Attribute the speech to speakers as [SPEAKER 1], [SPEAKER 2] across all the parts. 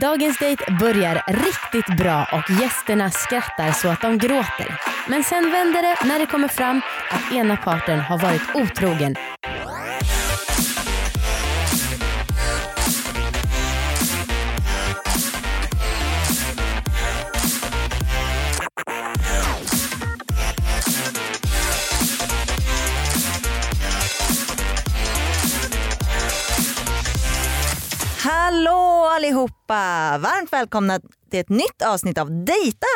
[SPEAKER 1] Dagens dejt börjar riktigt bra och gästerna skrattar så att de gråter. Men sen vänder det när det kommer fram att ena parten har varit otrogen.
[SPEAKER 2] Hallå allihopa! Varmt välkomna till ett nytt avsnitt av Dejta!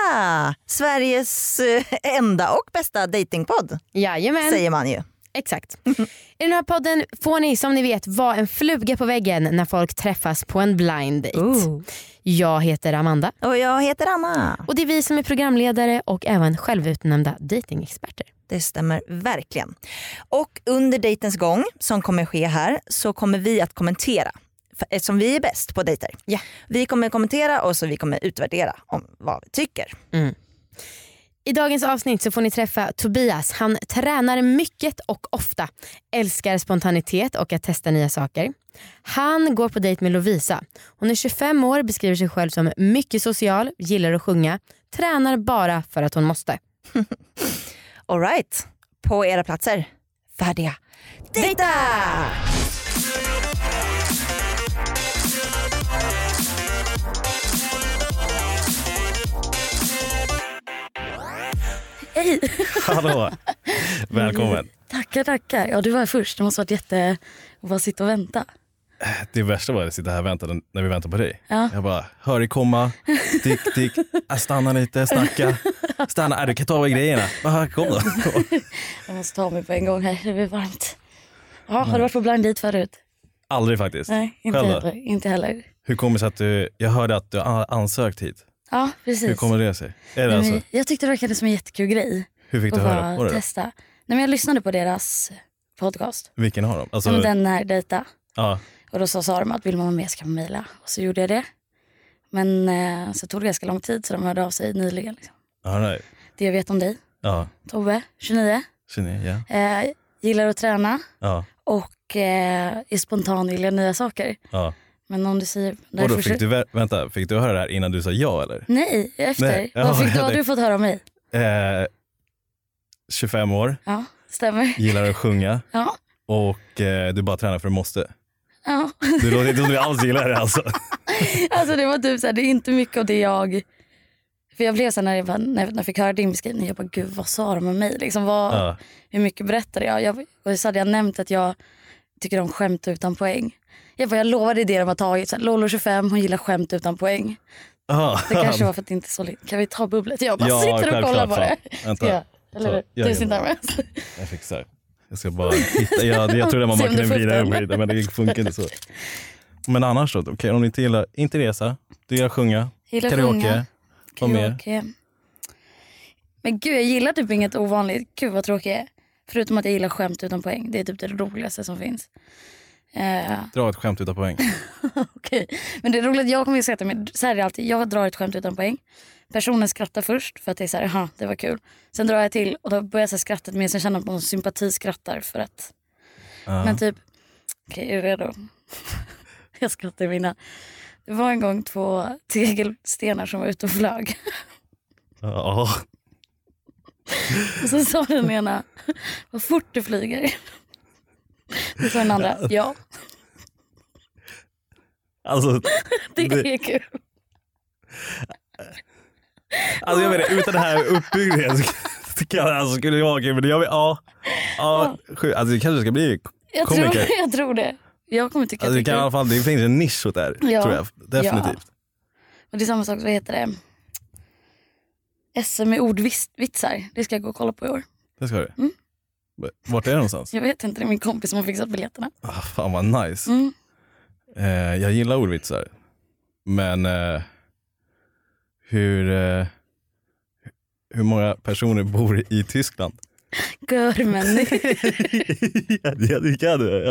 [SPEAKER 2] Sveriges eh, enda och bästa datingpodd
[SPEAKER 1] Jajamän,
[SPEAKER 2] säger man ju.
[SPEAKER 1] exakt. I den här podden får ni som ni vet vara en fluga på väggen när folk träffas på en blind date. Jag heter Amanda
[SPEAKER 2] Och jag heter Anna.
[SPEAKER 1] och det är vi som är programledare och även självutnämnda datingexperter.
[SPEAKER 2] Det stämmer verkligen. Och under dejtens gång som kommer ske här så kommer vi att kommentera För- eftersom vi är bäst på dejter.
[SPEAKER 1] Ja.
[SPEAKER 2] Vi kommer kommentera och så vi kommer utvärdera om vad vi tycker.
[SPEAKER 1] I dagens avsnitt så får ni träffa Tobias. Han tränar mycket och ofta. Älskar spontanitet och att testa nya saker. Han går på dejt med Lovisa. Hon är 25 år, beskriver sig själv som mycket social, gillar att sjunga, tränar bara för att hon måste.
[SPEAKER 2] Alright, på era platser. Färdiga. Dejta!
[SPEAKER 3] Hej! Mm,
[SPEAKER 4] Hallå! Välkommen.
[SPEAKER 3] Tackar, tackar. Ja, du var först. Det måste varit jätte... att bara sitta och vänta.
[SPEAKER 4] Det värsta var att sitta här och vänta när vi väntar på dig.
[SPEAKER 3] Ja.
[SPEAKER 4] Jag bara, hör dig komma, tick tick, Ah, stanna lite, snacka, stanna, Ah, du kan ta av grejerna. Ah, kom då.
[SPEAKER 3] Jag måste ta mig på en gång här. Det blir varmt. Ja, har du varit på blind date förut?
[SPEAKER 4] Aldrig faktiskt.
[SPEAKER 3] Nej, inte
[SPEAKER 4] Själv då?
[SPEAKER 3] heller. Inte heller.
[SPEAKER 4] Hur kommer det sig att du, jag hörde att du har ansökt hit.
[SPEAKER 3] Ja, precis.
[SPEAKER 4] Hur kommer det sig? Är det
[SPEAKER 3] Nej,
[SPEAKER 4] alltså,
[SPEAKER 3] men Jag tyckte det verkade som en jättekul grej.
[SPEAKER 4] hur fick du
[SPEAKER 3] att
[SPEAKER 4] höra på
[SPEAKER 3] bara
[SPEAKER 4] det?
[SPEAKER 3] testa. Nej, men jag lyssnade på deras podcast.
[SPEAKER 4] Vilken har de? Alltså,
[SPEAKER 3] Så... Den här Dejta.
[SPEAKER 4] ja,
[SPEAKER 3] Och då så sa de att vill man vara med ska man mejla. Och så gjorde jag det. Men eh, så tog det ganska lång tid så de hörde av sig nyligen. Liksom.
[SPEAKER 4] all right.
[SPEAKER 3] Det jag vet om dig.
[SPEAKER 4] Ja,
[SPEAKER 3] Tobbe, 29.
[SPEAKER 4] Kine, ja.
[SPEAKER 3] Eh, gillar att träna.
[SPEAKER 4] ja,
[SPEAKER 3] och eh, är spontan och vill göra nya saker.
[SPEAKER 4] ja.
[SPEAKER 3] Men om du säger...
[SPEAKER 4] Och då
[SPEAKER 3] därför
[SPEAKER 4] fick
[SPEAKER 3] så-
[SPEAKER 4] du, vä- vänta, fick du höra det här innan du sa ja eller?
[SPEAKER 3] Nej, efter.
[SPEAKER 4] Nej, ja,
[SPEAKER 3] Vad fick du, har
[SPEAKER 4] det-
[SPEAKER 3] du fått höra om mig?
[SPEAKER 4] Eh, 25 år,
[SPEAKER 3] Ja, stämmer.
[SPEAKER 4] gillar att sjunga.
[SPEAKER 3] Ja.
[SPEAKER 4] och eh, du bara tränar för du måste.
[SPEAKER 3] ja.
[SPEAKER 4] Du låter inte som du alls gillar det alltså.
[SPEAKER 3] Alltså det var typ såhär, det är inte mycket av det jag... För jag blev såhär när jag, bara, när jag- när jag fick höra din beskrivning, jag bara gud vad sa de om mig? Liksom, vad,
[SPEAKER 4] Ja.
[SPEAKER 3] Hur mycket berättade jag? jag? Och så hade jag nämnt att jag tycker om skämt utan poäng. Jag bara, jag lovade det de har tagit. Så här, Lolo 25, hon gillar skämt utan poäng.
[SPEAKER 4] Ja.
[SPEAKER 3] Det kanske var för att det inte är så lätt. Kan vi ta bubblet? Jag bara
[SPEAKER 4] Ja,
[SPEAKER 3] sitter och
[SPEAKER 4] självklart,
[SPEAKER 3] kollar på
[SPEAKER 4] fan.
[SPEAKER 3] det.
[SPEAKER 4] Vänta.
[SPEAKER 3] Ska jag? Eller
[SPEAKER 4] Ta-
[SPEAKER 3] hur?
[SPEAKER 4] jag
[SPEAKER 3] Tusen
[SPEAKER 4] gör det.
[SPEAKER 3] tack.
[SPEAKER 4] Jag fixar. Jag ska bara hitta. Jag, jag trodde man
[SPEAKER 3] Se
[SPEAKER 4] bara
[SPEAKER 3] om du
[SPEAKER 4] kunde
[SPEAKER 3] får upp
[SPEAKER 4] vrida
[SPEAKER 3] den.
[SPEAKER 4] och vrida men det funkar inte så. Men annars då? Okej, om du inte gillar, inte resa, du gillar att sjunga,
[SPEAKER 3] Gillar att
[SPEAKER 4] karaoke,
[SPEAKER 3] sjunga,
[SPEAKER 4] vad mer?
[SPEAKER 3] Karaoke. Men gud, jag gillar typ inget ovanligt. Gud vad tråkig jag är. Förutom att jag gillar skämt utan poäng. Det är typ det roligaste som finns. Eh,
[SPEAKER 4] Dra ett skämt utan poäng.
[SPEAKER 3] Okej, men det är roligt. Jag kommer ju sätta mig, så här är det alltid. Jag drar ett skämt utan poäng. Personen skrattar först för att det är så här, aha, det var kul. Sen drar jag till och då börjar så här skrattet med. Sen känner jag att någon sympati skrattar för att.
[SPEAKER 4] Ja.
[SPEAKER 3] Men typ, okej är du redo? jag skrattar mina. Det var en gång två tegelstenar som var ute och flög.
[SPEAKER 4] Ja.
[SPEAKER 3] Och så sa den ena, vad fort du flyger. Då sa den andra, ja
[SPEAKER 4] Alltså,
[SPEAKER 3] det
[SPEAKER 4] Det-
[SPEAKER 3] är kul.
[SPEAKER 4] alltså jag menar utan den här uppbyggnaden så så kan, alltså, skulle det vara okej men jag vill, ja. ja sju- alltså det kanske ska bli
[SPEAKER 3] Jag tror,
[SPEAKER 4] komiker.
[SPEAKER 3] jag tror det. Jag kommer tycka
[SPEAKER 4] Alltså, det,
[SPEAKER 3] att det
[SPEAKER 4] kan,
[SPEAKER 3] är
[SPEAKER 4] i
[SPEAKER 3] kul.
[SPEAKER 4] alla fall, det finns en nisch åt det här
[SPEAKER 3] Ja.
[SPEAKER 4] tror jag. Definitivt.
[SPEAKER 3] Och det är samma sak, vad heter det? SM i ordvitsar, det ska jag gå och kolla på i år.
[SPEAKER 4] Det ska du.
[SPEAKER 3] Mm.
[SPEAKER 4] Vart är det någonstans?
[SPEAKER 3] Jag vet inte, det är min kompis som har fixat biljetterna.
[SPEAKER 4] Ah, fan vad nice.
[SPEAKER 3] Mm.
[SPEAKER 4] Eh, jag gillar ordvitsar. Men eh, hur, eh, hur många personer bor i Tyskland?
[SPEAKER 3] Görmänniska.
[SPEAKER 4] ja, det kan du.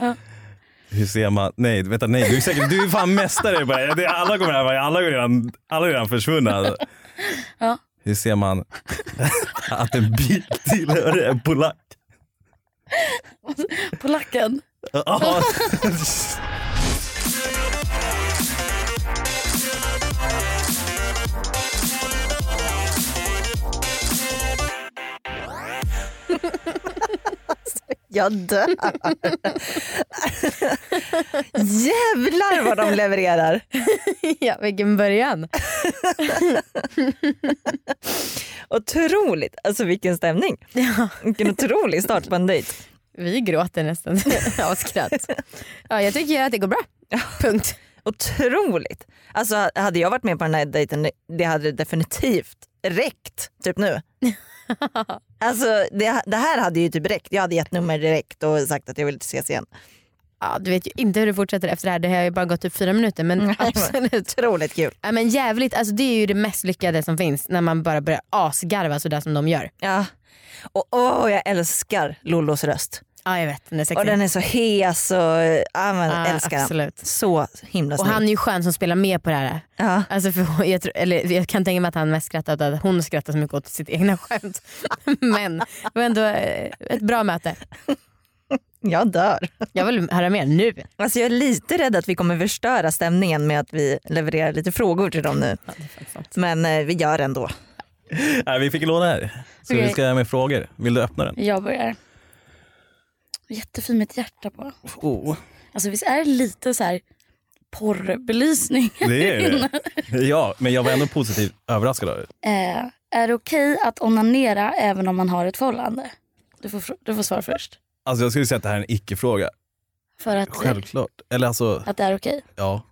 [SPEAKER 4] Ja. Hur ser man? Nej, vänta, nej, du är säkert, du är fan mästare på det här. Det är- Alla kommer här, alla är redan, alla är redan försvunna.
[SPEAKER 3] Ja.
[SPEAKER 4] Hur ser man att en bil tillhör en polack?
[SPEAKER 3] Polacken.
[SPEAKER 4] Ja.
[SPEAKER 2] Jag dör. Jävlar vad de levererar.
[SPEAKER 1] ja, vilken början.
[SPEAKER 2] Otroligt. Alltså vilken stämning. Vilken otrolig start på en dejt.
[SPEAKER 1] Vi gråter nästan av skratt. Ja, jag tycker att det går bra. Punkt.
[SPEAKER 2] Otroligt. Alltså hade jag varit med på den här dejten det hade definitivt räckt typ nu. alltså det, det här hade ju typ räckt. Jag hade gett nummer direkt och sagt att jag vill ses igen.
[SPEAKER 1] Ja, du vet ju inte hur det fortsätter efter det här. Det här har ju bara gått typ fyra minuter. Men absolut.
[SPEAKER 2] Otroligt kul.
[SPEAKER 1] Ja, men jävligt, alltså, det är ju det mest lyckade som finns när man bara börjar asgarva sådär som de gör.
[SPEAKER 2] Ja. Och åh, jag älskar Lollos röst.
[SPEAKER 1] Ja jag vet, den är sexig.
[SPEAKER 2] Och den är så hes och ja, men,
[SPEAKER 1] Ja,
[SPEAKER 2] älskar den.
[SPEAKER 1] absolut.
[SPEAKER 2] Så himla
[SPEAKER 1] Och
[SPEAKER 2] snygg.
[SPEAKER 1] han är ju skön som spelar med på det här.
[SPEAKER 2] Ja.
[SPEAKER 1] Alltså för jag, tror, eller jag kan tänka mig att han mest skrattar åt att hon skrattar så mycket åt sitt egna skämt. Men det var ändå eh, ett bra möte.
[SPEAKER 2] Jag dör.
[SPEAKER 1] Jag vill höra mer nu.
[SPEAKER 2] Alltså jag är lite rädd att vi kommer förstöra stämningen med att vi levererar lite frågor till dem nu. Men eh, vi gör ändå.
[SPEAKER 4] Nej, vi fick en låda här. Så vi
[SPEAKER 3] Okej.
[SPEAKER 4] ska med frågor. Vill du öppna den?
[SPEAKER 3] Jag börjar. Jättefin med ett hjärta på.
[SPEAKER 4] Oh.
[SPEAKER 3] Alltså visst är det lite så här porrbelysning?
[SPEAKER 4] Det är det. Ja, men jag var ändå positivt överraskad av det.
[SPEAKER 3] Eh, är det okej att onanera även om man har ett förhållande? Du får, fr- du får svara först.
[SPEAKER 4] Alltså jag skulle säga att det här är en icke-fråga.
[SPEAKER 3] För att,
[SPEAKER 4] Självklart. Eller alltså,
[SPEAKER 3] att det är okej?
[SPEAKER 4] ja.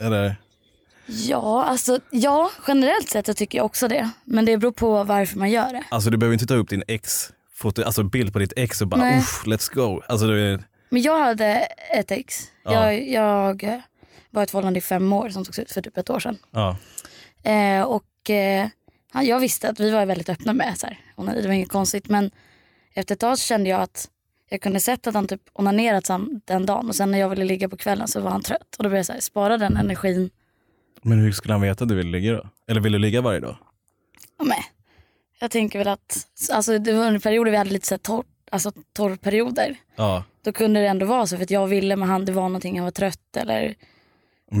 [SPEAKER 4] Eller?
[SPEAKER 3] Ja, alltså ja, generellt sett så tycker jag också det. Men det beror på varför man gör det.
[SPEAKER 4] Alltså du behöver inte ta upp din ex foto, alltså bild på ditt ex och bara
[SPEAKER 3] Nej.
[SPEAKER 4] uff, let's go. Alltså du är,
[SPEAKER 3] Men jag hade ett ex.
[SPEAKER 4] Ja.
[SPEAKER 3] Jag, jag eh, var i ett förhållande i fem år som tog slut för typ ett år sedan.
[SPEAKER 4] ja.
[SPEAKER 3] Eh, och eh, han- jag visste att vi var väldigt öppna med så här, onani, det var inget konstigt. Men efter ett tag så kände jag att jag kunde sett att han typ onanerat sam- den dagen och sen när jag ville ligga på kvällen så var han trött. Och då började jag så här, spara den energin.
[SPEAKER 4] Men hur skulle han veta att du ville ligga då? Eller vill du ligga varje dag?
[SPEAKER 3] Ja, men Jag tänker väl att, alltså, det var under perioder vi hade lite så här torr, alltså, torrperioder.
[SPEAKER 4] Ja,
[SPEAKER 3] Då kunde det ändå vara så för att jag ville men han, det var någonting, han var trött eller...
[SPEAKER 4] men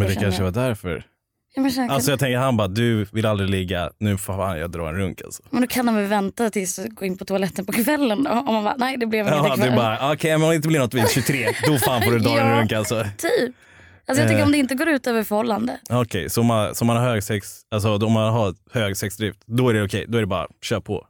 [SPEAKER 3] Jag
[SPEAKER 4] det
[SPEAKER 3] känner
[SPEAKER 4] kanske var
[SPEAKER 3] jag.
[SPEAKER 4] därför.
[SPEAKER 3] Ja, men, sen,
[SPEAKER 4] Alltså jag tänker han bara, du vill aldrig ligga, nu får fan jag drar en runk alltså.
[SPEAKER 3] men då kan han väl vänta tills gå in på toaletten på kvällen då? Om man bara, nej det blev inget
[SPEAKER 4] Ja,
[SPEAKER 3] ikväll.
[SPEAKER 4] du bara, okej men om det inte blir något vid 23, då fan får du dra en
[SPEAKER 3] Ja.
[SPEAKER 4] runk alltså.
[SPEAKER 3] Typ. Alltså
[SPEAKER 4] Eh.
[SPEAKER 3] jag tycker om det inte går ut över förhållande.
[SPEAKER 4] Okej, så om man, så om man har hög sex, alltså om man har hög sexdrift, då är det okej, då är det bara kör på.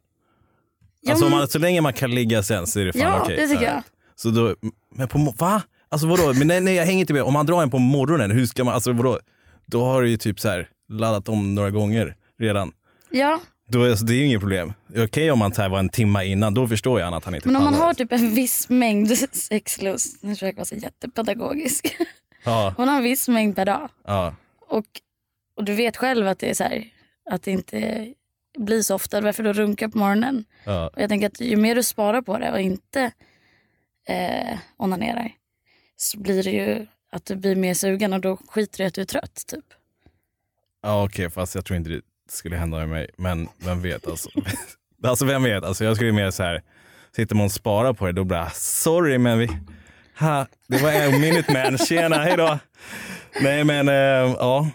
[SPEAKER 3] Ja,
[SPEAKER 4] alltså om
[SPEAKER 3] men-
[SPEAKER 4] man, så länge man kan ligga sen så är det fan
[SPEAKER 3] Ja,
[SPEAKER 4] okej.
[SPEAKER 3] det tycker
[SPEAKER 4] Ja.
[SPEAKER 3] jag.
[SPEAKER 4] Så då, men på, mo- va? Alltså vadå? Men nej, nej jag hänger inte med. Om man drar en på morgonen, hur ska man, alltså vadå? Då har du ju typ så här laddat om några gånger redan.
[SPEAKER 3] Ja,
[SPEAKER 4] Då, är- alltså, det är ju inget problem. Det är Okej om man så här var en timma innan, då förstår jag att han inte
[SPEAKER 3] men om man
[SPEAKER 4] pallar.
[SPEAKER 3] har typ en viss mängd sexlust, nu försöker jag vara så jättepedagogisk.
[SPEAKER 4] Ja,
[SPEAKER 3] Hon har en viss mängd per dag.
[SPEAKER 4] ja.
[SPEAKER 3] Och, och du vet själv att det är så här, att det inte blir så ofta. Varför då runka på morgonen?
[SPEAKER 4] Ja.
[SPEAKER 3] Och jag tänker att ju mer du sparar på det och inte eh, onanerar så blir det ju att du blir mer sugen och då skiter du i att du är trött. Typ.
[SPEAKER 4] Ja okej, fast jag tror inte det skulle hända med mig. Men vem vet alltså. alltså vem vet, alltså, jag skulle mer så här, sitter man och sparar på det då bara sorry men vi, ha, det var en minute man, tjena, hejdå. Nej men eh, ja,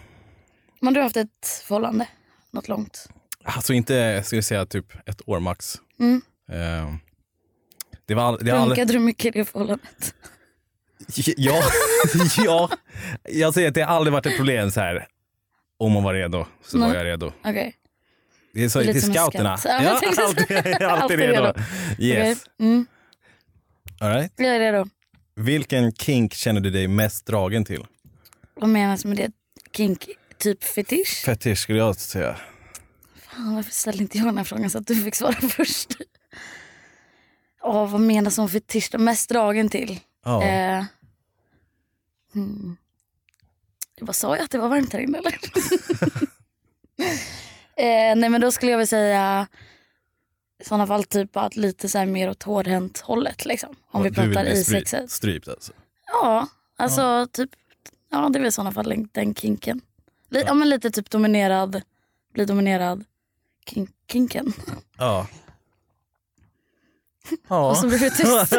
[SPEAKER 3] Men du har haft ett förhållande, något långt.
[SPEAKER 4] alltså inte, jag skulle säga typ ett år max.
[SPEAKER 3] Mm.
[SPEAKER 4] Eh, det var all, det har aldrig-
[SPEAKER 3] Runkade du mycket i det förhållandet?
[SPEAKER 4] Ja, ja, jag säger att det har aldrig varit ett problem så här. Om man var redo så var
[SPEAKER 3] Nej.
[SPEAKER 4] jag redo.
[SPEAKER 3] Okej.
[SPEAKER 4] Det är så
[SPEAKER 3] Det är
[SPEAKER 4] till
[SPEAKER 3] lite som en
[SPEAKER 4] scouterna.
[SPEAKER 3] scout. Ja, men tänkte så.
[SPEAKER 4] alltid, alltid,
[SPEAKER 3] Alltid
[SPEAKER 4] redo.
[SPEAKER 3] redo.
[SPEAKER 4] Yes.
[SPEAKER 3] Okej. Mm.
[SPEAKER 4] All right.
[SPEAKER 3] Jag är redo.
[SPEAKER 4] Vilken kink känner du dig mest dragen till?
[SPEAKER 3] Vad menas med det? Kink? Typ fetisch?
[SPEAKER 4] Fetisch skulle jag säga.
[SPEAKER 3] Fan, varför ställde inte jag den här frågan så att du fick svara först? Åh, vad menas som fetisch? då? Mest dragen till?
[SPEAKER 4] Ja.
[SPEAKER 3] Eh, hmm. Vad sa jag att det var varmt här inne eller? eh, nej men då skulle jag väl säga i sådana fall typ att lite så här mer åt hårdhänt hållet liksom. Om vi
[SPEAKER 4] Du vill
[SPEAKER 3] pratar
[SPEAKER 4] bli
[SPEAKER 3] i
[SPEAKER 4] stry-
[SPEAKER 3] sexet.
[SPEAKER 4] Strypt alltså.
[SPEAKER 3] Ja, alltså typ, ja det är väl i sådana fall den- den kinken. Li- ja. men lite typ dominerad, bli dominerad kin- kinken.
[SPEAKER 4] Ja.
[SPEAKER 3] Och
[SPEAKER 4] Ja.
[SPEAKER 3] så blir det tyst.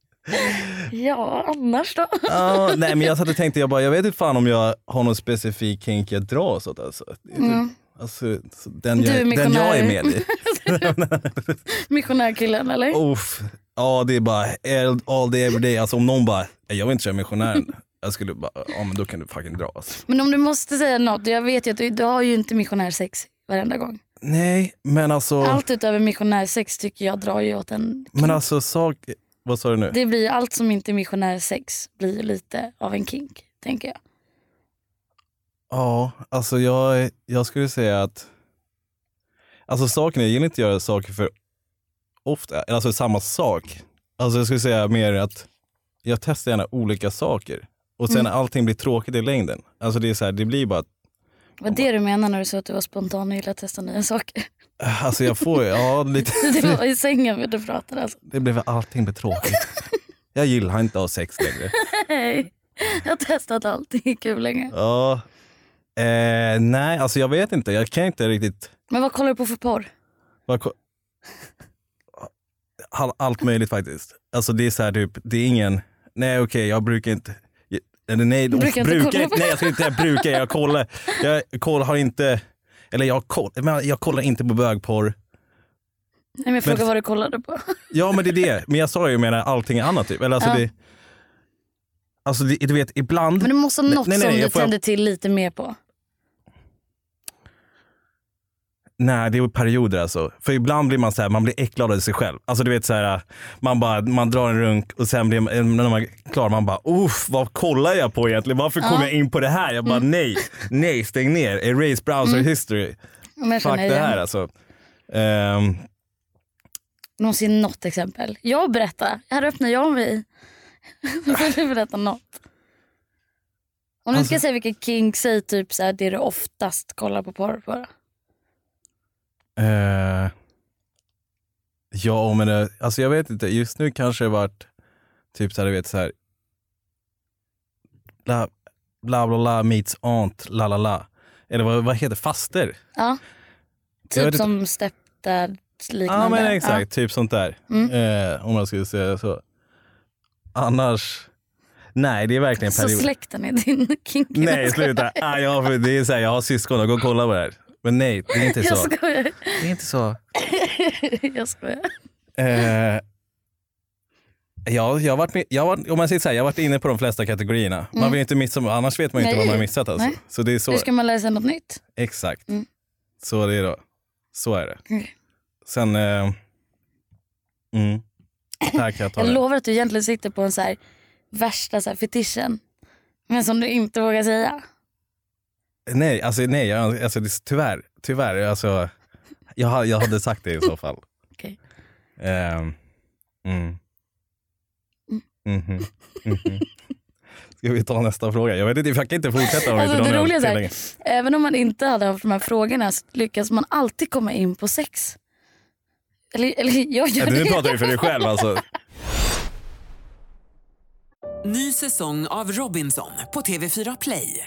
[SPEAKER 3] ja, annars då?
[SPEAKER 4] ja. Nej men jag satt och tänkte, jag bara, jag vet inte fan om jag har någon specifik kink jag dras åt alltså. Det är typ- alltså så den,
[SPEAKER 3] Mm. Du är
[SPEAKER 4] jag, den jag är
[SPEAKER 3] missionär.
[SPEAKER 4] med i.
[SPEAKER 3] Missionärkillen eller?
[SPEAKER 4] Uff. Ja det är bara eld all day every day. Alltså om någon bara, "Nej, jag vill inte köra missionären. Jag skulle bara, ja men då kan du fucking alltså." dras.
[SPEAKER 3] Men om du måste säga något, jag vet ju att du, du har ju inte missionärsex varenda gång.
[SPEAKER 4] Nej men alltså,
[SPEAKER 3] Allt utöver missionärsex tycker jag drar ju åt en kink.
[SPEAKER 4] men alltså sak, vad sa du nu?
[SPEAKER 3] Det blir allt som inte är missionärsex blir ju lite av en kink, tänker jag.
[SPEAKER 4] Ja, alltså jag, jag skulle säga att Alltså saken är, jag gillar inte att göra saker för ofta, eller alltså samma sak. Alltså jag skulle säga mer att jag testar gärna olika saker och sen
[SPEAKER 3] Mm.
[SPEAKER 4] allting blir tråkigt i längden. Alltså det är så här, det blir bara,
[SPEAKER 3] Vad det du menar när du sa att du var spontan och gillade att testa nya saker?
[SPEAKER 4] alltså jag får, ja lite,
[SPEAKER 3] Det var i sängen du pratade alltså.
[SPEAKER 4] det blev allting blir tråkigt. Jag gillar inte att ha sex längre.
[SPEAKER 3] Hej, jag har testat allt, det är kul länge.
[SPEAKER 4] Ja, eh, nej alltså jag vet inte, jag kan inte riktigt,
[SPEAKER 3] Men vad kollar du på för porr?
[SPEAKER 4] vad ko- all, allt möjligt faktiskt. Alltså det är så här typ, det är ingen, nej okej jag brukar inte, eller nej,
[SPEAKER 3] Du brukar
[SPEAKER 4] brukar
[SPEAKER 3] inte kolla på-
[SPEAKER 4] nej jag ska inte säga brukar, jag kollar, jag kollar, har inte, eller jag, koll, men jag kollar inte på bögporr.
[SPEAKER 3] Nej, men jag frågar vad du kollade på.
[SPEAKER 4] Ja men det är det, men jag sa ju jag menar allting annat typ. Eller alltså
[SPEAKER 3] Ja.
[SPEAKER 4] det, alltså det, du vet ibland,
[SPEAKER 3] Men du måste ha
[SPEAKER 4] Nej,
[SPEAKER 3] något
[SPEAKER 4] nej, nej,
[SPEAKER 3] som
[SPEAKER 4] jag
[SPEAKER 3] du
[SPEAKER 4] får-
[SPEAKER 3] tänder till lite mer på.
[SPEAKER 4] nej det är perioder alltså. För ibland blir man så här, man blir äcklad av sig själv. Alltså du vet så här, man bara, man drar en runk och sen blir man, eh, när man är klar, man bara uff, vad kollar jag på egentligen? Varför kom jag in på det här? Jag bara
[SPEAKER 3] Mm.
[SPEAKER 4] nej, nej stäng ner, erase browser history.
[SPEAKER 3] Om Mm. jag
[SPEAKER 4] Fuck
[SPEAKER 3] känner
[SPEAKER 4] det
[SPEAKER 3] igen.
[SPEAKER 4] här alltså. Ehm,
[SPEAKER 3] Någonsin något exempel. Jag berättar. Här öppnar jag mig. Då får du berätta något. Om
[SPEAKER 4] Alltså-
[SPEAKER 3] du ska säga vilken kink, säg typ så här, det du oftast kollar på porr på. då.
[SPEAKER 4] Eh, ja, men eh, alltså jag vet inte. Just nu kanske det varit typ så här, du vet så här. La, bla bla la meets aunt, la la la. Eller vad, vad heter det? Faster?
[SPEAKER 3] Ja.
[SPEAKER 4] Jag vet
[SPEAKER 3] Typ som stepdad liknande. Mm.
[SPEAKER 4] Ja, men exakt. Typ sånt där. Eh, om man skulle säga så. Annars, nej det är verkligen
[SPEAKER 3] Så
[SPEAKER 4] period.
[SPEAKER 3] släkten är din kink.
[SPEAKER 4] Nej, sluta. Ah, jag, har- det är så här, jag har syskon, gå och kolla på det här. Men nej, det är inte
[SPEAKER 3] Jag
[SPEAKER 4] så.
[SPEAKER 3] skojar.
[SPEAKER 4] Det är inte så.
[SPEAKER 3] Jag skojar.
[SPEAKER 4] Eh, jag, jag har varit med, jag har, varit- om man säger så här, jag har varit inne på de flesta kategorierna. Man vill inte missa, annars vet man ju inte
[SPEAKER 3] Mm. Nej.
[SPEAKER 4] vad man har missat. Alltså.
[SPEAKER 3] Nej.
[SPEAKER 4] Så det är så.
[SPEAKER 3] Hur ska man lära sig något nytt?
[SPEAKER 4] Exakt. Så det är då. Så är det.
[SPEAKER 3] Okej.
[SPEAKER 4] Sen... Eh, mm. Tack, jag tar
[SPEAKER 3] Jag
[SPEAKER 4] det.
[SPEAKER 3] lovar att du egentligen sitter på en så här, värsta så här, fetischen. Men som du inte vågar säga.
[SPEAKER 4] Nej, alltså, nej jag, alltså, det, är tyvärr. tyvärr alltså, jag, ha- jag hade sagt det i så fall.
[SPEAKER 3] Okej.
[SPEAKER 4] Ehm, mm.
[SPEAKER 3] Mm.
[SPEAKER 4] Mhm, mhm. Ska vi ta nästa fråga? Jag, vet inte, jag kan inte fortsätta. om vi
[SPEAKER 3] Alltså,
[SPEAKER 4] inte
[SPEAKER 3] det
[SPEAKER 4] drar
[SPEAKER 3] roliga är
[SPEAKER 4] ner
[SPEAKER 3] så
[SPEAKER 4] till
[SPEAKER 3] här,
[SPEAKER 4] länge.
[SPEAKER 3] även om man inte hade haft de här frågorna så lyckas man alltid komma in på sex. Eller, eller jag gör
[SPEAKER 4] Nej,
[SPEAKER 3] det.
[SPEAKER 4] Nu pratar du för dig själv alltså.
[SPEAKER 5] Ny säsong av Robinson på TV4 Play.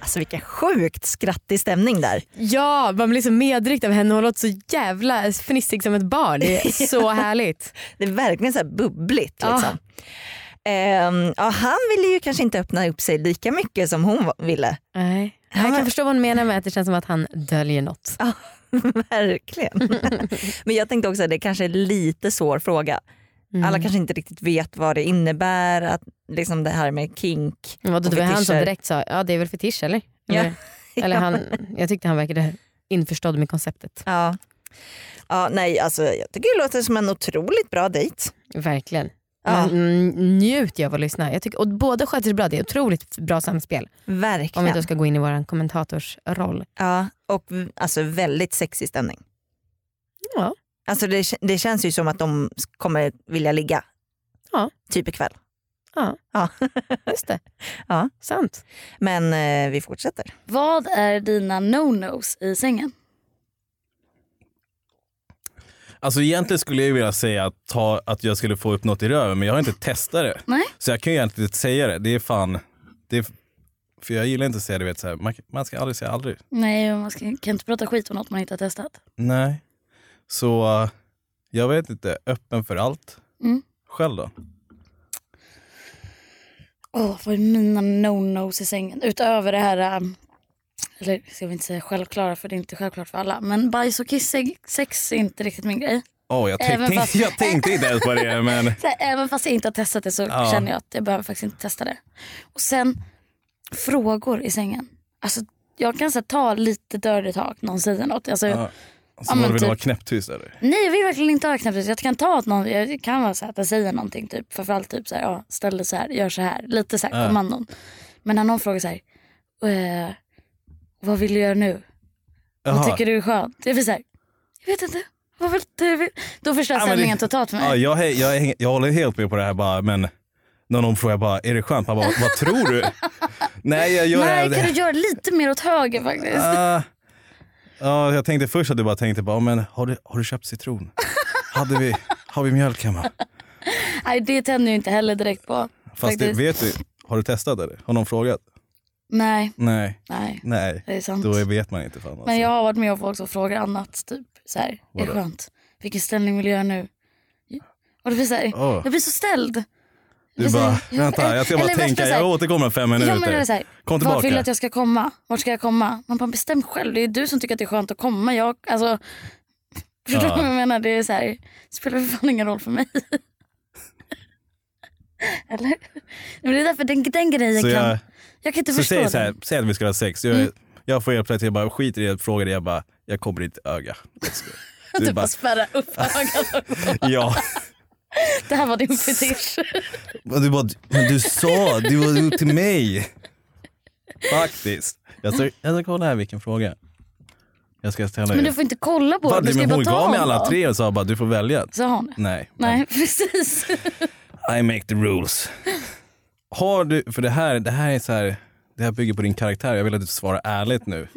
[SPEAKER 2] Alltså vilken sjukt skrattig stämning där.
[SPEAKER 1] Ja, man blir så medryckt av henne. Hon låter så jävla fnissig som ett barn. Det är så härligt.
[SPEAKER 2] Det är verkligen så här bubbligt. Liksom. Ehm, ja, han ville ju kanske inte öppna upp sig lika mycket som hon ville.
[SPEAKER 1] Nej. Jag kan förstå vad hon menar med att det känns som att han döljer något.
[SPEAKER 2] Verkligen. Men jag tänkte också att det kanske är lite svår fråga. Alla
[SPEAKER 1] Mm.
[SPEAKER 2] kanske inte riktigt vet vad det innebär, att liksom det här med kink
[SPEAKER 1] Vadå,
[SPEAKER 2] och
[SPEAKER 1] det var han som
[SPEAKER 2] fetischer.
[SPEAKER 1] direkt sa, ja det är väl fetisch eller?
[SPEAKER 2] Ja.
[SPEAKER 1] Eller- Eller
[SPEAKER 2] Ja.
[SPEAKER 1] han, jag tyckte han verkade införstådd med konceptet.
[SPEAKER 2] Ja. ja, nej alltså jag tycker det låter som en otroligt bra dejt.
[SPEAKER 1] Verkligen.
[SPEAKER 2] Ja.
[SPEAKER 1] Men mm, njuter jag av att lyssna. Jag tycker, och båda sköter sig bra, det är otroligt bra samspel. Om
[SPEAKER 2] Verkligen.
[SPEAKER 1] vi då ska gå in i vår kommentatorsroll.
[SPEAKER 2] Ja, och v- alltså väldigt sexig stämning.
[SPEAKER 1] Ja.
[SPEAKER 2] Alltså det, k- det känns ju som att de s- kommer vilja ligga.
[SPEAKER 1] Ja.
[SPEAKER 2] Typ ikväll.
[SPEAKER 1] Ja,
[SPEAKER 2] Ja.
[SPEAKER 1] just det.
[SPEAKER 2] Ja.
[SPEAKER 1] Sant.
[SPEAKER 2] Men eh, vi fortsätter.
[SPEAKER 3] Vad är dina no-nos i sängen?
[SPEAKER 4] Alltså egentligen skulle jag vilja säga att, ta, att jag skulle få upp något i röven men jag har inte testat det.
[SPEAKER 3] Nej.
[SPEAKER 4] Så jag kan ju egentligen inte säga det. Det är fan... Det är, för jag gillar inte att säga det, vet, så här, man, man ska aldrig säga aldrig.
[SPEAKER 3] Nej, man ska, kan inte prata skit om något man inte har testat.
[SPEAKER 4] Nej. Så eh, jag vet inte, öppen för allt.
[SPEAKER 3] Mm.
[SPEAKER 4] Själv då?
[SPEAKER 3] Åh, vad är mina no-nos i sängen? Utöver det här, ähm, eller ska vi inte säga självklara för det är inte självklart för alla. Men bajs och kiss, seg- sex är inte riktigt min grej.
[SPEAKER 4] Åh, jag,
[SPEAKER 3] Även
[SPEAKER 4] tänkte,
[SPEAKER 3] fast-
[SPEAKER 4] jag tänkte inte ens på det men...
[SPEAKER 3] Så här, även fast jag inte har testat det så
[SPEAKER 4] Ja.
[SPEAKER 3] känner jag att jag behöver faktiskt inte testa det. Och sen frågor i sängen. Alltså, jag kan så här, ta lite dirty talk, någon säger något. Alltså,
[SPEAKER 4] Ja. Så
[SPEAKER 3] Ja, men
[SPEAKER 4] man vill
[SPEAKER 3] typ.
[SPEAKER 4] vara knäpptyst eller?
[SPEAKER 3] Nej jag vill verkligen inte ha knäpptyst. Jag kan ta att någon, jag kan vara så här, att jag säger någonting typ. Framförallt typ så här, ja, ställ dig så här, gör så här. Lite så här
[SPEAKER 4] Ja.
[SPEAKER 3] kommandon. Men när någon frågar så här, eh, vad vill du göra nu? Vad
[SPEAKER 4] Jaha.
[SPEAKER 3] tycker du är skönt? Jag blir så här, jag vet inte. Vad vill du? jag vill-" Då förstörs
[SPEAKER 4] Ja, men det-
[SPEAKER 3] stämningen Alltså, totalt för mig.
[SPEAKER 4] Ja, jag, hä- jag, hänger- jag håller helt med på det här bara, men när någon frågar bara, är det skönt? Man bara, vad tror du? Nej, jag gör
[SPEAKER 3] Nej,
[SPEAKER 4] det.
[SPEAKER 3] kan du göra lite mer åt höger faktiskt?
[SPEAKER 4] Ah. ja, jag tänkte först att du bara tänkte, bara, men har du, har du köpt citron? Hade vi, har vi mjölk hemma?
[SPEAKER 3] Nej, det tänder ju inte heller direkt på.
[SPEAKER 4] Fast det,
[SPEAKER 3] faktiskt.
[SPEAKER 4] vet du, har du testat eller? Har någon frågat?
[SPEAKER 3] Nej,
[SPEAKER 4] Nej.
[SPEAKER 3] nej.
[SPEAKER 4] Nej,
[SPEAKER 3] Det är sant.
[SPEAKER 4] då vet man inte. Fan, alltså.
[SPEAKER 3] Men jag har varit med om folk som frågar annat. Typ så här, är det
[SPEAKER 4] Vadå?
[SPEAKER 3] skönt? Vilken ställning vill jag göra nu? Och det blir så här,
[SPEAKER 4] Åh.
[SPEAKER 3] jag blir så ställd.
[SPEAKER 4] Du bara,
[SPEAKER 3] precis.
[SPEAKER 4] vänta jag ska bara
[SPEAKER 3] Eller värsta
[SPEAKER 4] tänka,
[SPEAKER 3] så här-
[SPEAKER 4] jag återkommer om fem
[SPEAKER 3] Ja, men det är
[SPEAKER 4] minuter.
[SPEAKER 3] så här,
[SPEAKER 4] Kom
[SPEAKER 3] Vart vill du
[SPEAKER 4] tillbaka.
[SPEAKER 3] att jag ska komma? Vart ska jag komma? Man bara bestäm själv. Det är du som tycker att det är skönt att komma. Jag, alltså, förstår du
[SPEAKER 4] Ja.
[SPEAKER 3] vad jag menar? Det är så här, spelar för fan ingen roll för mig. Eller? Men det är därför den, den grejen
[SPEAKER 4] Så
[SPEAKER 3] kan...
[SPEAKER 4] jag-
[SPEAKER 3] Jag, kan inte
[SPEAKER 4] Så
[SPEAKER 3] förstå
[SPEAKER 4] säg, så här,
[SPEAKER 3] den. Mm.
[SPEAKER 4] säg att vi ska ha sex. Jag, jag får helt plötsligt jag bara skiter i att fråga dig. Jag bara, jag kommer i ditt öga. Du
[SPEAKER 3] Typ
[SPEAKER 4] bara,
[SPEAKER 3] att spärra upp ögonen.
[SPEAKER 4] ja.
[SPEAKER 3] Det här var din fetisch.
[SPEAKER 4] Och Du bara, men du sa, du var upp till mig. Faktiskt. Jag ska, jag ska kolla här vilken fråga. Jag ska ställa
[SPEAKER 3] Men
[SPEAKER 4] er.
[SPEAKER 3] du får inte kolla på
[SPEAKER 4] Vad,
[SPEAKER 3] den. Du ska
[SPEAKER 4] men
[SPEAKER 3] bara
[SPEAKER 4] hon
[SPEAKER 3] ta
[SPEAKER 4] gav mig
[SPEAKER 3] honom.
[SPEAKER 4] alla tre och sa bara, du får välja.
[SPEAKER 3] Så har hon.
[SPEAKER 4] Nej.
[SPEAKER 3] Nej, precis.
[SPEAKER 4] I make the rules. Har du, för det här, det här är så här, det här bygger på din karaktär. Jag vill att du svarar ärligt nu.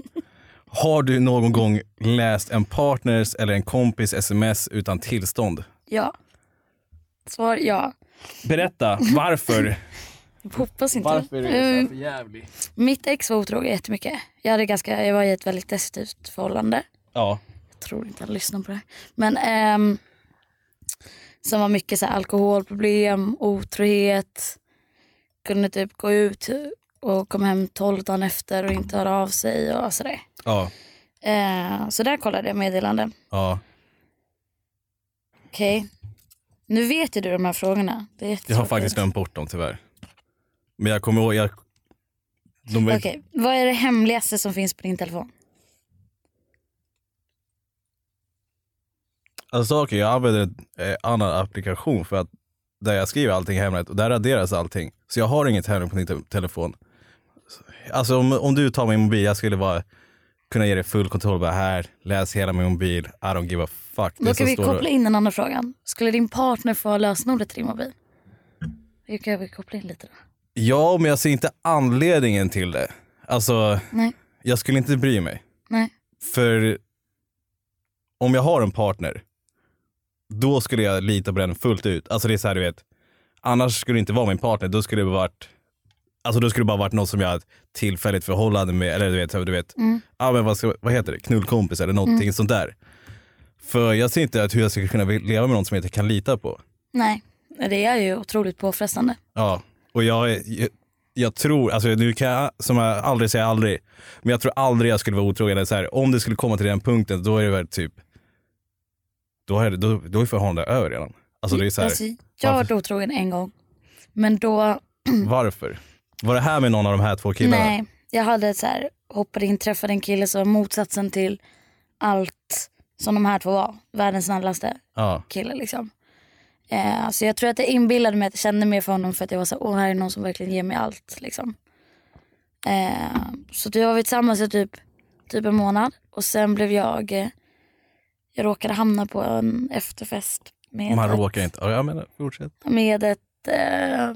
[SPEAKER 4] Har du någon gång läst en partners eller en kompis sms utan tillstånd?
[SPEAKER 3] Ja. Svar ja.
[SPEAKER 4] Berätta varför.
[SPEAKER 3] Jag hoppas inte.
[SPEAKER 4] Varför är det så här
[SPEAKER 3] Eh,
[SPEAKER 4] för jävligt?
[SPEAKER 3] Mitt ex var otrogen jättemycket. Jag, hade ganska, jag var i ett väldigt destruktivt förhållande.
[SPEAKER 4] Ja.
[SPEAKER 3] Jag tror inte han lyssnar på det här. Men ehm, som var mycket så här, alkoholproblem, otrohet. Kunde typ gå ut och kom hem tolv dagen efter och inte höra av sig och sådär.
[SPEAKER 4] Ja.
[SPEAKER 3] Eh, så där kollade jag meddelanden.
[SPEAKER 4] Ja.
[SPEAKER 3] Okej. Nu vet ju du de här frågorna. Det är
[SPEAKER 4] Jag har
[SPEAKER 3] jättetråkigt.
[SPEAKER 4] faktiskt glömt bort dem tyvärr. Men jag kommer ihåg, jag... De var...
[SPEAKER 3] Okej, vad är det hemligaste som finns på din telefon?
[SPEAKER 4] Alltså saker, jag använder en eh, annan applikation för att där jag skriver allting hemligt och där raderas allting. Så jag har inget hemligt på min te- telefon. Alltså om, om du tar min mobil, jag skulle bara kunna ge dig full kontroll. Bara här, läs hela min mobil. I don't give a fuck.
[SPEAKER 3] Då
[SPEAKER 4] som
[SPEAKER 3] kan vi
[SPEAKER 4] står-
[SPEAKER 3] koppla in den andra frågan. Skulle din partner få ha lösenordet till din mobil? Det kan vi koppla in lite då.
[SPEAKER 4] Ja, men jag ser inte anledningen till det. Alltså,
[SPEAKER 3] Nej.
[SPEAKER 4] jag skulle inte bry mig.
[SPEAKER 3] Nej.
[SPEAKER 4] För om jag har en partner, då skulle jag lita på den fullt ut. Alltså det är så här, du vet. Annars skulle det inte vara min partner. Då skulle det varit Alltså då skulle det bara varit något som jag har ett tillfälligt förhållande med, eller du vet, du vet
[SPEAKER 3] Mm.
[SPEAKER 4] ja, men vad, ska, vad heter det, knullkompis eller någonting
[SPEAKER 3] Mm.
[SPEAKER 4] sånt där. För jag ser inte att hur jag ska kunna leva med någon som jag inte kan lita på.
[SPEAKER 3] Nej, det är ju otroligt påfrestande.
[SPEAKER 4] Ja, och jag, är- jag, jag tror, alltså nu kan jag som jag aldrig säga aldrig, men jag tror aldrig jag skulle vara otrogen. Eller Så här, om det skulle komma till den punkten, då är det väl typ, då är, det, då, då är förhållandet över redan. Alltså det är så här,
[SPEAKER 3] Alltså, jag har varit otrogen en gång. Men då,
[SPEAKER 4] varför? Var det här med någon av de här två killarna?
[SPEAKER 3] Mm. nej. Jag hade så här, hoppade in, träffade en kille som var motsatsen till allt som de här två var. Världens snällaste
[SPEAKER 4] Ja.
[SPEAKER 3] kille liksom. Eh, så jag tror att jag inbillade mig att jag kände mer för honom för att jag var så här, åh här är någon som verkligen ger mig allt liksom. Eh, så då var vi tillsammans i typ, typ en månad och sen blev jag, eh, jag råkade hamna på en efterfest med
[SPEAKER 4] Man
[SPEAKER 3] ett-
[SPEAKER 4] råkar inte, ja, jag menar fortsätt.
[SPEAKER 3] med ett eh,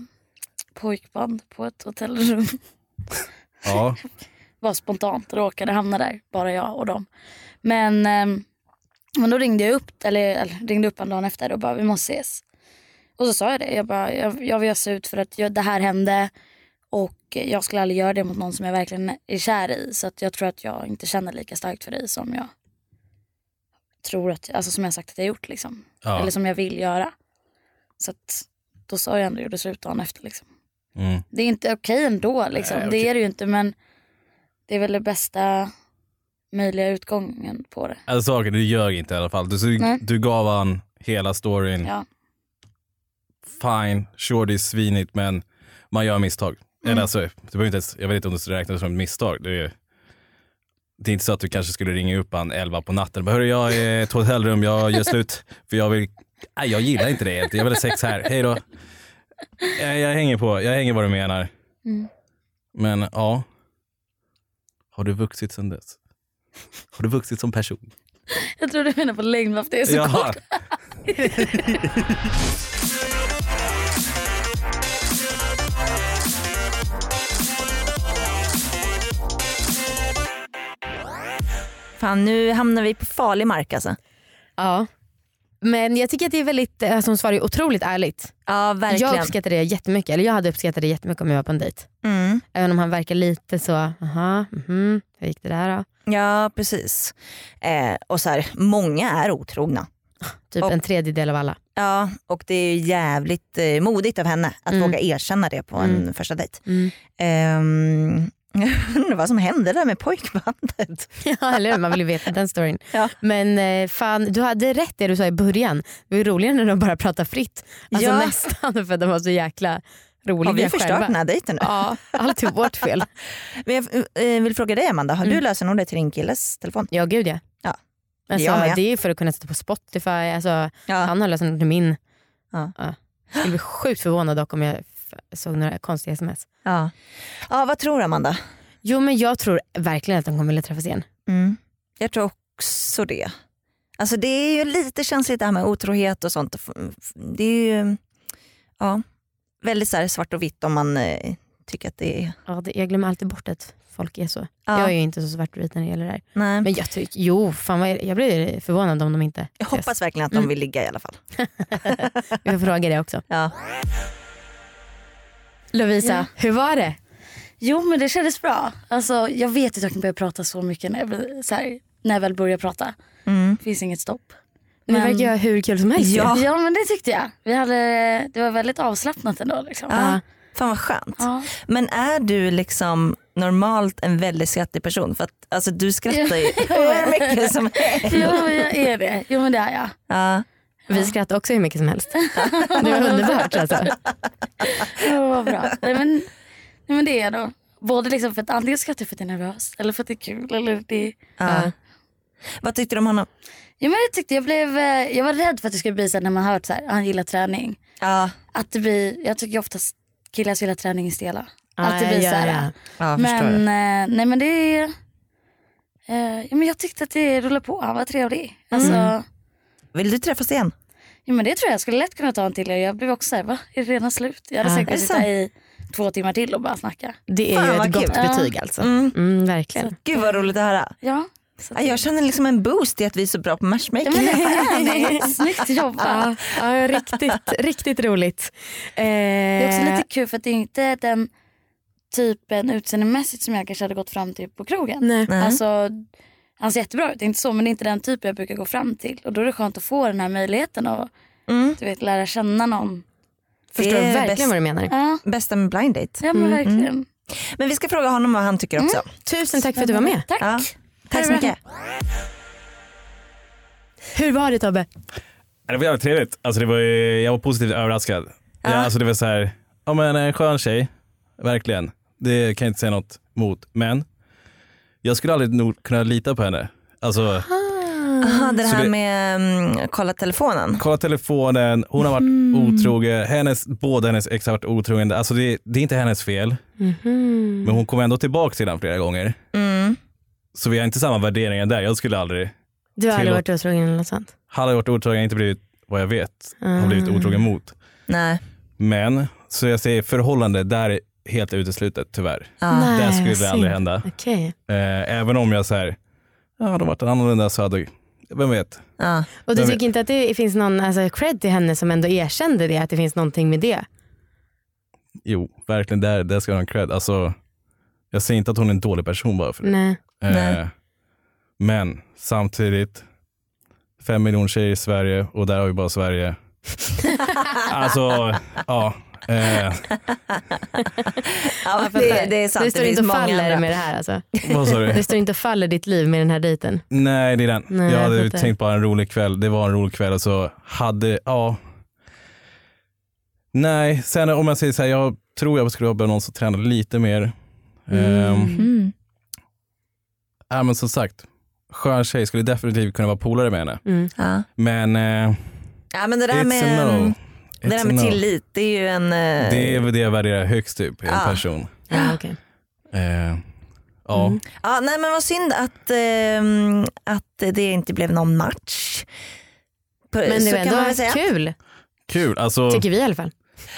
[SPEAKER 3] pojkband på ett hotellrum.
[SPEAKER 4] Ja,
[SPEAKER 3] var spontant, råkade hamna där, bara jag och dem. Men, ehm, men då ringde jag upp, eller, eller ringde upp en dag efter och bara vi måste ses. Och så sa jag det, jag, bara, jag, jag vill se ut för att jag, det här hände och jag skulle aldrig göra det mot någon som jag verkligen är kär i. Så att jag tror att jag inte känner lika starkt för dig som jag tror att, alltså som jag sagt att jag gjort liksom.
[SPEAKER 4] Ja.
[SPEAKER 3] Eller som jag vill göra. Så att då sa jag ändå, gjorde slut dagen efter liksom.
[SPEAKER 4] Mm.
[SPEAKER 3] Det är inte okej ändå. Liksom.
[SPEAKER 4] Nej,
[SPEAKER 3] Det
[SPEAKER 4] okej.
[SPEAKER 3] är det ju inte men det är väl det bästa möjliga utgången på det.
[SPEAKER 4] alltså saker, du ljög inte i alla fall. Du, du,
[SPEAKER 3] Nej.
[SPEAKER 4] du gav han hela storyn.
[SPEAKER 3] Ja.
[SPEAKER 4] Fine, sure det är svinigt men man gör misstag. Eller alltså, det behöver inte ens, jag vet inte om det räknas som ett misstag. Det är, det är inte så att du kanske skulle ringa upp han 11 på natten och bara, "Hörru, jag är i ett hotellrum, jag gör slut för jag vill, nej jag gillar inte det egentligen, jag vill ha sex här, hej då. Jag, jag hänger på, jag hänger vad du menar.
[SPEAKER 3] Mm.
[SPEAKER 4] Men ja, har du vuxit sedan dess? Har du vuxit som person?
[SPEAKER 3] Jag tror du menar på längd varför det är så
[SPEAKER 4] Jaha.
[SPEAKER 3] kort.
[SPEAKER 2] Fan nu hamnar vi på farlig mark alltså.
[SPEAKER 1] Ja. Men jag tycker att det är väldigt, eh, alltså hon svarar ju otroligt ärligt.
[SPEAKER 2] Ja verkligen.
[SPEAKER 1] Jag uppskattar det jättemycket, eller jag hade uppskattat det jättemycket om jag var på en dejt.
[SPEAKER 2] Mm.
[SPEAKER 1] Även om han verkar lite så, aha, mhm, hur gick det där då?
[SPEAKER 2] Ja precis. Eh, och så här, många är otrogna.
[SPEAKER 1] Typ
[SPEAKER 2] Och-
[SPEAKER 1] en tredjedel av alla.
[SPEAKER 2] Ja och det är ju jävligt eh, modigt av henne att
[SPEAKER 1] Mm.
[SPEAKER 2] våga erkänna det på en
[SPEAKER 1] Mm.
[SPEAKER 2] första dejt.
[SPEAKER 1] Mm.
[SPEAKER 2] Ehm, jag undrar vad som hände där med pojkbandet.
[SPEAKER 1] Ja, eller hur? Man vill ju veta den storyn.
[SPEAKER 2] Ja.
[SPEAKER 1] Men eh, fan, du hade rätt det du sa i början. Det var ju roligare när de bara pratade fritt. Alltså
[SPEAKER 2] Ja.
[SPEAKER 1] nästan, för att de var så jäkla roliga
[SPEAKER 2] Har vi förstört
[SPEAKER 1] själva.
[SPEAKER 2] den här dejten nu?
[SPEAKER 1] Ja, allt är vårt fel.
[SPEAKER 2] Men jag eh, vill fråga dig Amanda, har du
[SPEAKER 1] Mm.
[SPEAKER 2] lösenordet till din killes telefon?
[SPEAKER 1] Ja, gud ja.
[SPEAKER 2] Ja.
[SPEAKER 1] Alltså,
[SPEAKER 2] Jag med.
[SPEAKER 1] det är ju för att kunna sätta på Spotify. Alltså,
[SPEAKER 2] Ja.
[SPEAKER 1] Han har lösenord till min.
[SPEAKER 2] Ja.
[SPEAKER 1] Jag skulle bli sjukt förvånad dock om jag f- såg några konstiga sms.
[SPEAKER 2] Ja. ja, vad tror du Amanda?
[SPEAKER 1] Jo men jag tror verkligen att de kommer vilja träffas igen.
[SPEAKER 2] Mm. Jag tror också det. Alltså det är ju lite känsligt det här med otrohet och sånt. Det är ju ja, väldigt så här svart och vitt om man eh, tycker att det är...
[SPEAKER 1] Ja, det, jag glömmer alltid bort att folk är så.
[SPEAKER 2] Ja.
[SPEAKER 1] Jag är ju inte så svartvit när det gäller det här.
[SPEAKER 2] Nej.
[SPEAKER 1] Men jag tycker, jo fan vad är det? jag blir förvånad om de inte
[SPEAKER 2] Jag hoppas verkligen att de
[SPEAKER 1] Mm.
[SPEAKER 2] vill ligga i alla fall.
[SPEAKER 1] Vi får fråga det också.
[SPEAKER 2] Ja.
[SPEAKER 1] Lovisa,
[SPEAKER 3] Ja.
[SPEAKER 1] hur var det?
[SPEAKER 3] Jo men det kändes bra. Alltså, jag vet att jag kan börja prata så mycket när jag, blir- så här, när jag väl börjar prata.
[SPEAKER 2] Mm.
[SPEAKER 3] Det finns inget stopp.
[SPEAKER 1] Det
[SPEAKER 3] Men-
[SPEAKER 1] verkar ju ha hur kul som helst. ju.
[SPEAKER 2] Ja.
[SPEAKER 3] Ja men det tyckte jag. Vi hade, det var väldigt avslappnat ändå. Liksom.
[SPEAKER 2] Ja. Fan vad skönt.
[SPEAKER 3] Ja.
[SPEAKER 2] Men är du liksom normalt en väldigt skrattig person? För att alltså, du skrattar ju hur mycket som
[SPEAKER 3] Jo
[SPEAKER 2] helst.
[SPEAKER 3] men jag är det. Jo men det är jag.
[SPEAKER 2] Ja.
[SPEAKER 1] Vi skrattar också hur mycket som helst. Det var underbart alltså.
[SPEAKER 3] Det var bra. Nej, men, nej, men det är då. Både liksom för att antingen skrattar jag för att jag är nervös eller för att det är kul. Eller det...
[SPEAKER 2] Ja. Vad tyckte du om honom?
[SPEAKER 3] Ja, men jag, tyckte jag, blev, eh, jag var rädd för att det skulle bli så här när man hört så här, "Ah, han gillar träning.
[SPEAKER 2] Ja,
[SPEAKER 3] Att det blir, jag tycker oftast killar som gillar träning är stela.
[SPEAKER 1] Ja,
[SPEAKER 3] att det blir
[SPEAKER 1] ja,
[SPEAKER 3] så här.
[SPEAKER 1] ja.
[SPEAKER 2] ja
[SPEAKER 3] Men, eh, nej, men det är... eh, ja, men jag tyckte att det rullade på. Han var trevlig. Alltså,
[SPEAKER 2] Vill du träffas igen?
[SPEAKER 3] ja, men det tror jag. Jag skulle lätt kunna ta en till. Jag blev också så här, va? Är det redan slut? Jag hade
[SPEAKER 1] Ja.
[SPEAKER 3] säkert
[SPEAKER 2] Är
[SPEAKER 3] kunnat
[SPEAKER 2] det
[SPEAKER 3] sitta i två timmar till och bara snacka.
[SPEAKER 1] Det är
[SPEAKER 2] Fan,
[SPEAKER 1] ju
[SPEAKER 2] vad
[SPEAKER 1] ett gott
[SPEAKER 2] kul.
[SPEAKER 1] betyg alltså.
[SPEAKER 2] Mm.
[SPEAKER 1] Mm, verkligen.
[SPEAKER 2] Gud vad roligt att höra.
[SPEAKER 3] Ja. Så
[SPEAKER 2] Ja,
[SPEAKER 3] att-
[SPEAKER 2] Jag känner liksom en boost i att vi är så bra på
[SPEAKER 3] Ja, men
[SPEAKER 2] matchmaking.
[SPEAKER 3] det är ni. Snyggt jobbat.
[SPEAKER 1] Ja, ja, riktigt, riktigt roligt. Eh,
[SPEAKER 3] Det är också lite kul för att det är inte den typen utseendemässigt som jag kanske hade gått fram till på krogen.
[SPEAKER 1] Nej. Nej.
[SPEAKER 3] Alltså, han ser jättebra ut, det är inte så, men det är inte den typen jag brukar gå fram till. Och då är det skönt att få den här möjligheten att du vet, lära känna någon.
[SPEAKER 1] Förstår
[SPEAKER 3] Det är
[SPEAKER 1] verkligen
[SPEAKER 3] bäst-
[SPEAKER 1] vad du menar.
[SPEAKER 3] Ja.
[SPEAKER 2] Bästa med blind date.
[SPEAKER 3] Ja men
[SPEAKER 2] Mm,
[SPEAKER 3] verkligen.
[SPEAKER 2] mm. Men vi ska fråga honom vad han tycker också.
[SPEAKER 1] Tusen Mm. tack för att du var med.
[SPEAKER 3] Tack.
[SPEAKER 2] Ja. Tack så
[SPEAKER 1] Ha det
[SPEAKER 2] mycket.
[SPEAKER 1] Hur var det Tobbe?
[SPEAKER 4] Ja, Det var jävligt trevligt. Alltså, det var ju, jag var positivt överraskad. Ja, alltså, det var så här, ja men en skön tjej, verkligen. Det kan jag inte säga något mot. Men jag skulle aldrig nog kunna lita på henne. Alltså,
[SPEAKER 2] Aha, det
[SPEAKER 4] Så
[SPEAKER 2] här
[SPEAKER 4] det-
[SPEAKER 2] med mm, kolla telefonen.
[SPEAKER 4] kolla telefonen, hon har varit
[SPEAKER 2] Mm.
[SPEAKER 4] otrogen, hennes, båda hennes ex har varit otrogen. Alltså, det, det är inte hennes fel, men hon kom ändå tillbaka till den flera gånger.
[SPEAKER 2] Mhm. Mm.
[SPEAKER 4] Så vi har inte samma värderingar där. Jag skulle aldrig,
[SPEAKER 1] Du har aldrig
[SPEAKER 4] Tillåt.
[SPEAKER 1] varit otrogen eller något sånt?
[SPEAKER 4] hade jag varit otrogen, inte blivit vad jag vet, har blivit
[SPEAKER 2] Ah.
[SPEAKER 4] otrogen mot.
[SPEAKER 2] Nej.
[SPEAKER 4] Men, så jag säger förhållande, där är helt uteslutet tyvärr.
[SPEAKER 2] Ja.
[SPEAKER 1] Nej,
[SPEAKER 4] där skulle
[SPEAKER 1] vad
[SPEAKER 4] Ah, det
[SPEAKER 1] synd.
[SPEAKER 4] aldrig hända.
[SPEAKER 1] Okej.
[SPEAKER 4] Eh, även om jag säger, ja hade de varit annorlunda så hade, vem vet.
[SPEAKER 2] Ja.
[SPEAKER 1] Och du
[SPEAKER 4] Jag
[SPEAKER 1] tycker inte att det finns någon alltså, cred till henne som ändå erkände det, att det finns någonting med det?
[SPEAKER 4] Jo, verkligen, där, där ska jag ha en cred. Alltså, jag säger inte att hon är en dålig person bara för
[SPEAKER 2] Mm.
[SPEAKER 4] det.
[SPEAKER 1] Nej.
[SPEAKER 4] Eh, men samtidigt, fem miljoner tjejer i Sverige och där har vi bara Sverige. alltså, ja. Eh,
[SPEAKER 2] Ja, det, det är sant.
[SPEAKER 1] Det står
[SPEAKER 2] finns
[SPEAKER 1] inte och
[SPEAKER 2] många
[SPEAKER 1] faller
[SPEAKER 2] andra.
[SPEAKER 1] med det här alltså?
[SPEAKER 4] vad sa du?
[SPEAKER 1] Det står inte och faller ditt liv med den här dejten?
[SPEAKER 4] Nej, det är den.
[SPEAKER 1] Nej,
[SPEAKER 4] jag
[SPEAKER 1] jag
[SPEAKER 4] hade
[SPEAKER 1] fattar.
[SPEAKER 4] tänkt bara en rolig kväll. Det var en rolig kväll och så hade, ja. Nej, sen om jag säger så här, jag tror jag skulle ha behövt någon som tränade lite mer. Ehm,
[SPEAKER 2] Mm.
[SPEAKER 4] ja, men som sagt, skön tjej, skulle definitivt kunna vara polare med henne.
[SPEAKER 2] Ja.
[SPEAKER 4] Men eh,
[SPEAKER 2] ja men Mm. det där
[SPEAKER 4] it's
[SPEAKER 2] med, mm,
[SPEAKER 4] a no.
[SPEAKER 2] det
[SPEAKER 4] It's
[SPEAKER 2] där
[SPEAKER 4] a
[SPEAKER 2] med
[SPEAKER 4] no.
[SPEAKER 2] tillit, det är ju en... eh,
[SPEAKER 4] Det är väl det jag värderar högst typ, i en
[SPEAKER 2] Ja.
[SPEAKER 4] person.
[SPEAKER 1] Ja, Ah, okej.
[SPEAKER 4] Eh, ja,
[SPEAKER 2] Ja, nej men vad synd att, ehm, att det inte blev någon match. På-
[SPEAKER 1] Men
[SPEAKER 2] så
[SPEAKER 1] det var
[SPEAKER 2] kan man väl
[SPEAKER 1] ändå
[SPEAKER 2] säga.
[SPEAKER 1] kul,
[SPEAKER 4] kul. Alltså,
[SPEAKER 1] tycker vi i alla fall.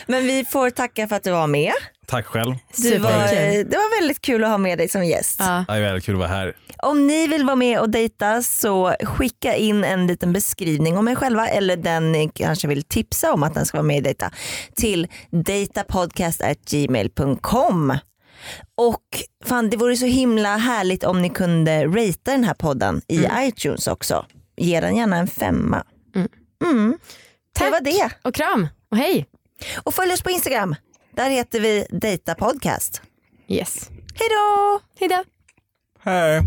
[SPEAKER 2] Men vi får tacka för att du var med.
[SPEAKER 4] tack själv.
[SPEAKER 2] Du var,
[SPEAKER 1] Superkul.
[SPEAKER 2] eh, det var väldigt kul att ha med dig som gäst.
[SPEAKER 1] Ja.
[SPEAKER 4] Det är väldigt kul att vara här.
[SPEAKER 2] Om ni vill vara med och dejta så skicka in en liten beskrivning om er själva eller den ni kanske vill tipsa om att den ska vara med och dejta till datapodcast.gmail.com. Och fan det vore så himla härligt om ni kunde ratea den här podden i
[SPEAKER 1] Mm.
[SPEAKER 2] iTunes också. Ge den gärna en femma. Mm. Det
[SPEAKER 1] Tack.
[SPEAKER 2] var det.
[SPEAKER 1] Och kram och hej.
[SPEAKER 2] Och följ oss på Instagram. Där heter vi Dejta Podcast.
[SPEAKER 1] Yes.
[SPEAKER 2] Hej då!
[SPEAKER 1] Hejdå.
[SPEAKER 4] Hej.